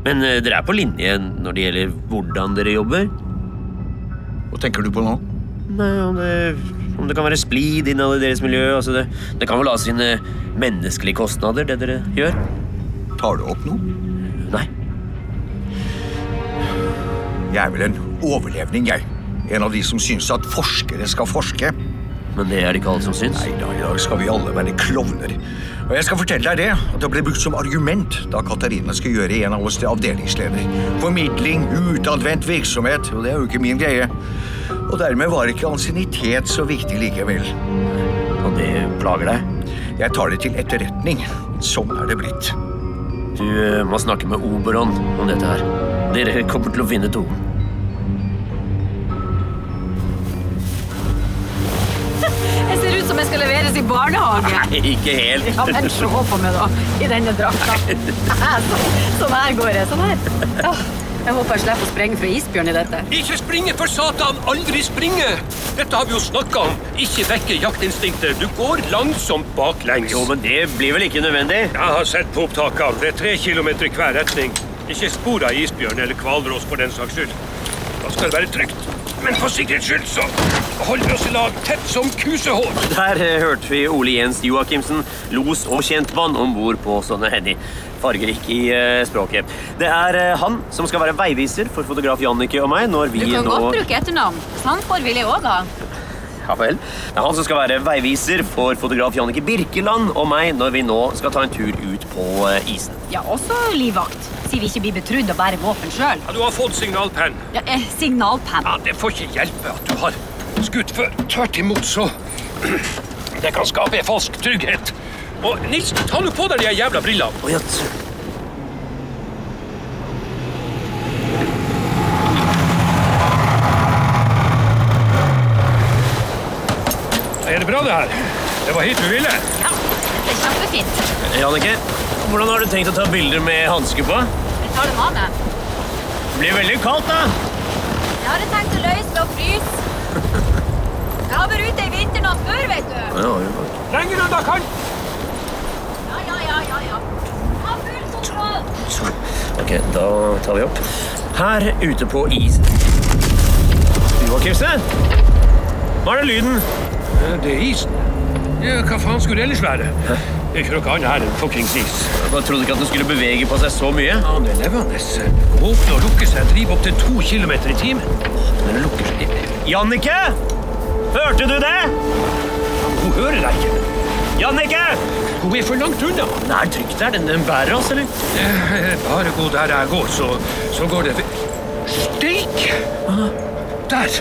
Speaker 8: Men eh, dere er på linje når det gjelder hvordan dere jobber?
Speaker 10: Hva tenker du på nå?
Speaker 8: Nei, om det, om det kan være splid innad i deres miljø. Altså det, det kan vel ha sine menneskelige kostnader, det dere gjør?
Speaker 10: Tar du opp noe?
Speaker 8: Nei.
Speaker 10: Jeg er vel en overlevning, jeg. En av de som syns at forskere skal forske.
Speaker 8: Men det er det ikke alle som syns?
Speaker 10: Nei da, i dag skal vi alle være klovner. Og jeg skal fortelle deg det, at det ble brukt som argument da Katarina skal gjøre en av oss til avdelingsleder. Formidling, utadvendt virksomhet, og det er jo ikke min greie. Og dermed var ikke ansiennitet så viktig likevel.
Speaker 8: Og det plager
Speaker 10: deg? Jeg tar det til etterretning. Sånn er det blitt.
Speaker 8: Du eh, må snakke med Oberon om dette her. Dere kommer til å finne tonen.
Speaker 17: Jeg ser ut som jeg skal leveres i barnehage.
Speaker 8: Nei, ikke helt.
Speaker 17: Ja, men se på meg, da. I denne drakta. Sånn, sånn her går jeg. Sånn her. Åh, Jeg håper jeg slipper å sprenge fra isbjørn i dette.
Speaker 15: Ikke springe for satan! Aldri springe! Dette har vi jo snakka om. Ikke vekke jaktinstinktet. Du går langsomt baklengs. Jo,
Speaker 8: men det blir vel ikke nødvendig?
Speaker 15: Jeg har sett på opptakene. Det er tre kilometer i hver retning. Ikke spor av isbjørn eller hvalross for den saks skyld. Da skal det være trygt. Men for sikkerhets skyld så holder vi oss i lag tett som kusehår.
Speaker 8: Der eh, hørte vi Ole Jens Joakimsen, los og kjentmann om bord på Sonne Henny. fargerik i eh, språket. Det er eh, han som skal være veiviser for fotograf Jannicke og meg når
Speaker 9: Du
Speaker 8: vi
Speaker 9: kan
Speaker 8: nå
Speaker 9: godt bruke etternavn. Sånn Sandkår vil jeg òg ha.
Speaker 8: Ja vel. Det er han som skal være veiviser for fotograf Jannicke Birkeland og meg når vi nå skal ta en tur ut på eh, isen.
Speaker 9: Ja, også livvakt. Sier vi ikke blir betrudd og bærer våpen sjøl.
Speaker 15: Ja, du har fått signalpenn.
Speaker 9: Ja, eh, signalpenn.
Speaker 15: Ja, det får ikke hjelpe at du har skutt før. Tvert imot så [clears throat] Det kan skape en falsk trygghet. Og Nils, ta nå på deg de jævla brillene. Er det bra, det her? Det var hit du ville?
Speaker 9: Det er kjempefint.
Speaker 8: Jannicke, hvordan har du tenkt å ta bilder med hanske på?
Speaker 9: Jeg tar dem av meg.
Speaker 8: Det blir veldig kaldt, da.
Speaker 9: Jeg hadde tenkt å løse ved å fryse. Jeg har vært ute i vinternatt før, vet du.
Speaker 15: Lenger unna kan
Speaker 9: Ja, ja, ja, ja. ja. Ha full kontroll.
Speaker 8: Ok, da tar vi opp. Her ute på is... Joakimsen? Hva er det lyden?
Speaker 15: Eh, Det er isen. Ja, hva faen skulle det ellers være? Det er ikke noe annet her enn fuckings is.
Speaker 8: Jeg bare trodde ikke at den skulle bevege på seg så mye.
Speaker 15: Ja, det er levende. Åpne og lukke seg driver opp til to kilometer i timen. Den lukker seg.
Speaker 8: Jannicke! Hørte du det?
Speaker 15: Hun hører deg ikke.
Speaker 8: Jannicke!
Speaker 15: Hun er for langt unna.
Speaker 8: Den er trygt der. Den, den bærer oss, eller?
Speaker 15: Bare gå der jeg går, så, så går det Steik! Der!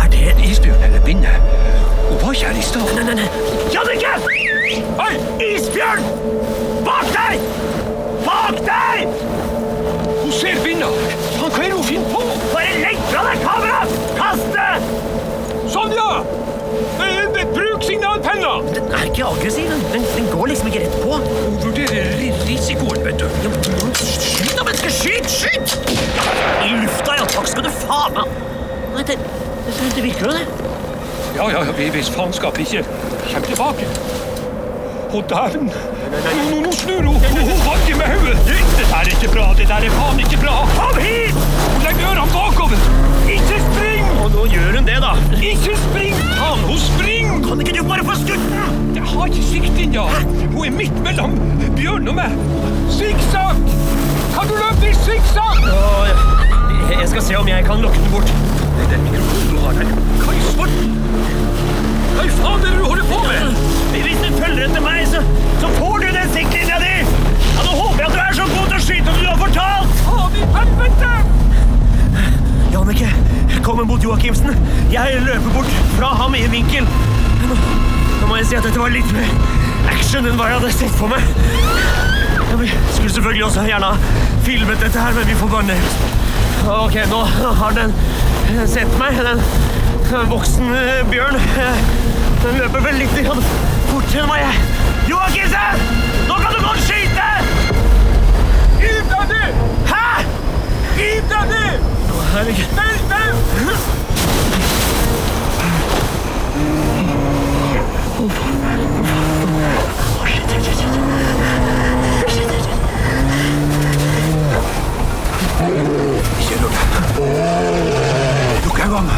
Speaker 15: Er det en isbjørn eller binne? Hun var ikke her i stad. Nei, nei, nei.
Speaker 18: Jannicke! Oi, isbjørn! Bak deg! Bak deg!
Speaker 15: Hun ser binna! Faen, hva er det hun finner på?
Speaker 18: Bare legg fra deg kameraet! Kast det!
Speaker 15: Sånn, ja! Eh, eh, Bruk signalpenna! Den er ikke aggressiv. Den, går liksom ikke rett på. Hun vurderer ri- risikoen, vet du.
Speaker 18: Skyt da, menneske! Skyt! Skyt! I lufta, ja. Takk skal du faen meg. Nei, det, det, det virker jo, det.
Speaker 15: Ja, ja, ja, vi- hvis faenskap ikke kommer tilbake. Å, dæven! Nå, nå, nå snur hun! Hun, hun vanker med hodet! Det der er ikke bra! Det der er faen ikke bra! Kom hit! Hun legger ørene bakover! Ikke spring! Og nå gjør hun det, da. Ikke spring! Faen, hun springer! Kan ikke du bare få skutt den? Jeg har ikke siktlinja. Hun er midt mellom bjørn og meg. Sikksakk! Kan du løpe i sikksakk?
Speaker 8: Jeg skal se om jeg kan lokke den bort.
Speaker 15: Det er den mikrofonen du har der. Hva i svarten? Hva i faen er det du holder på med?
Speaker 18: Hvis du følger etter meg, så, så får du den siktlinja di! Ja, Nå håper jeg at du er så god til å skyte som du har fortalt! Faen i helvete!
Speaker 8: Jannicke, kommer mot Joakimsen. Jeg løper bort fra ham i en vinkel. Nå, nå må jeg si at dette var litt mer action enn hva jeg hadde sett for meg. Ja, vi skulle selvfølgelig også gjerne ha filmet dette her, men vi får bare nøye Ok, nå har den sett meg. Den voksne bjørn. eh, Den løper vel litt grann fortere enn hva jeg
Speaker 18: Joakimsen! Nå kan du godt skyte! Gi deg nå! Hæ? Gi deg nå! Vent, vent!
Speaker 15: Lukk øynene.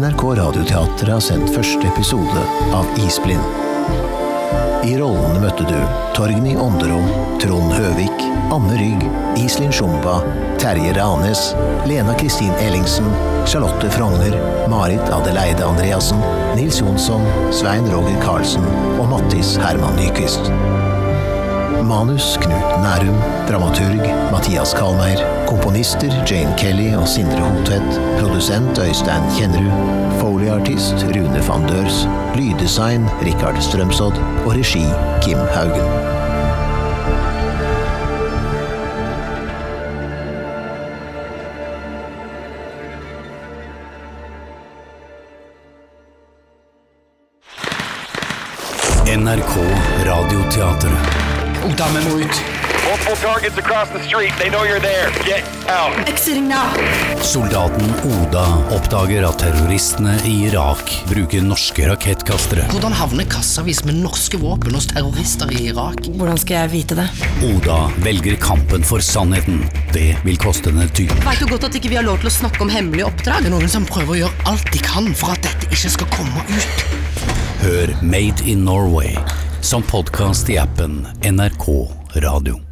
Speaker 19: NRK Radioteatret har sendt første episode av Isblind. I rollene møtte du Torgny Ånderom, Trond Høvik, Anne Rygg, Iselin Sjumba, Terje Ranes, Lena Kristin Ellingsen, Charlotte Frogner, Marit Adeleide Andreassen, Nils Jonsson, Svein Roger Karlsen og Mattis Herman Nyquist. Manus Knut Nærum. Dramaturg Mathias Kalmeier. Komponister Jane Kelly og Sindre Hotvedt. Produsent Øystein Kjennerud. Folieartist Rune van Dørs. Lyddesign Rikard Strømsodd. Og regi Kim Haugen.
Speaker 20: NRK Radioteatret.
Speaker 21: Ungdommen må ut.
Speaker 15: Multiple targets across the street. They know you're there. Get out.
Speaker 22: Exiting now.
Speaker 21: Soldaten Oda oppdager at terroristene i Irak bruker norske rakettkastere.
Speaker 5: Hvordan havner kassavis med norske våpen hos terrorister i Irak?
Speaker 8: Hvordan skal jeg vite det?
Speaker 21: Oda velger kampen for sannheten. Det vil koste henne dyrt.
Speaker 5: Veit du godt at ikke vi har lov til å snakke om hemmelige oppdrag? Det er noen som prøver å gjøre alt de kan for at dette ikke skal komme ut.
Speaker 21: Hør Made in Norway som podkast i appen NRK Radio.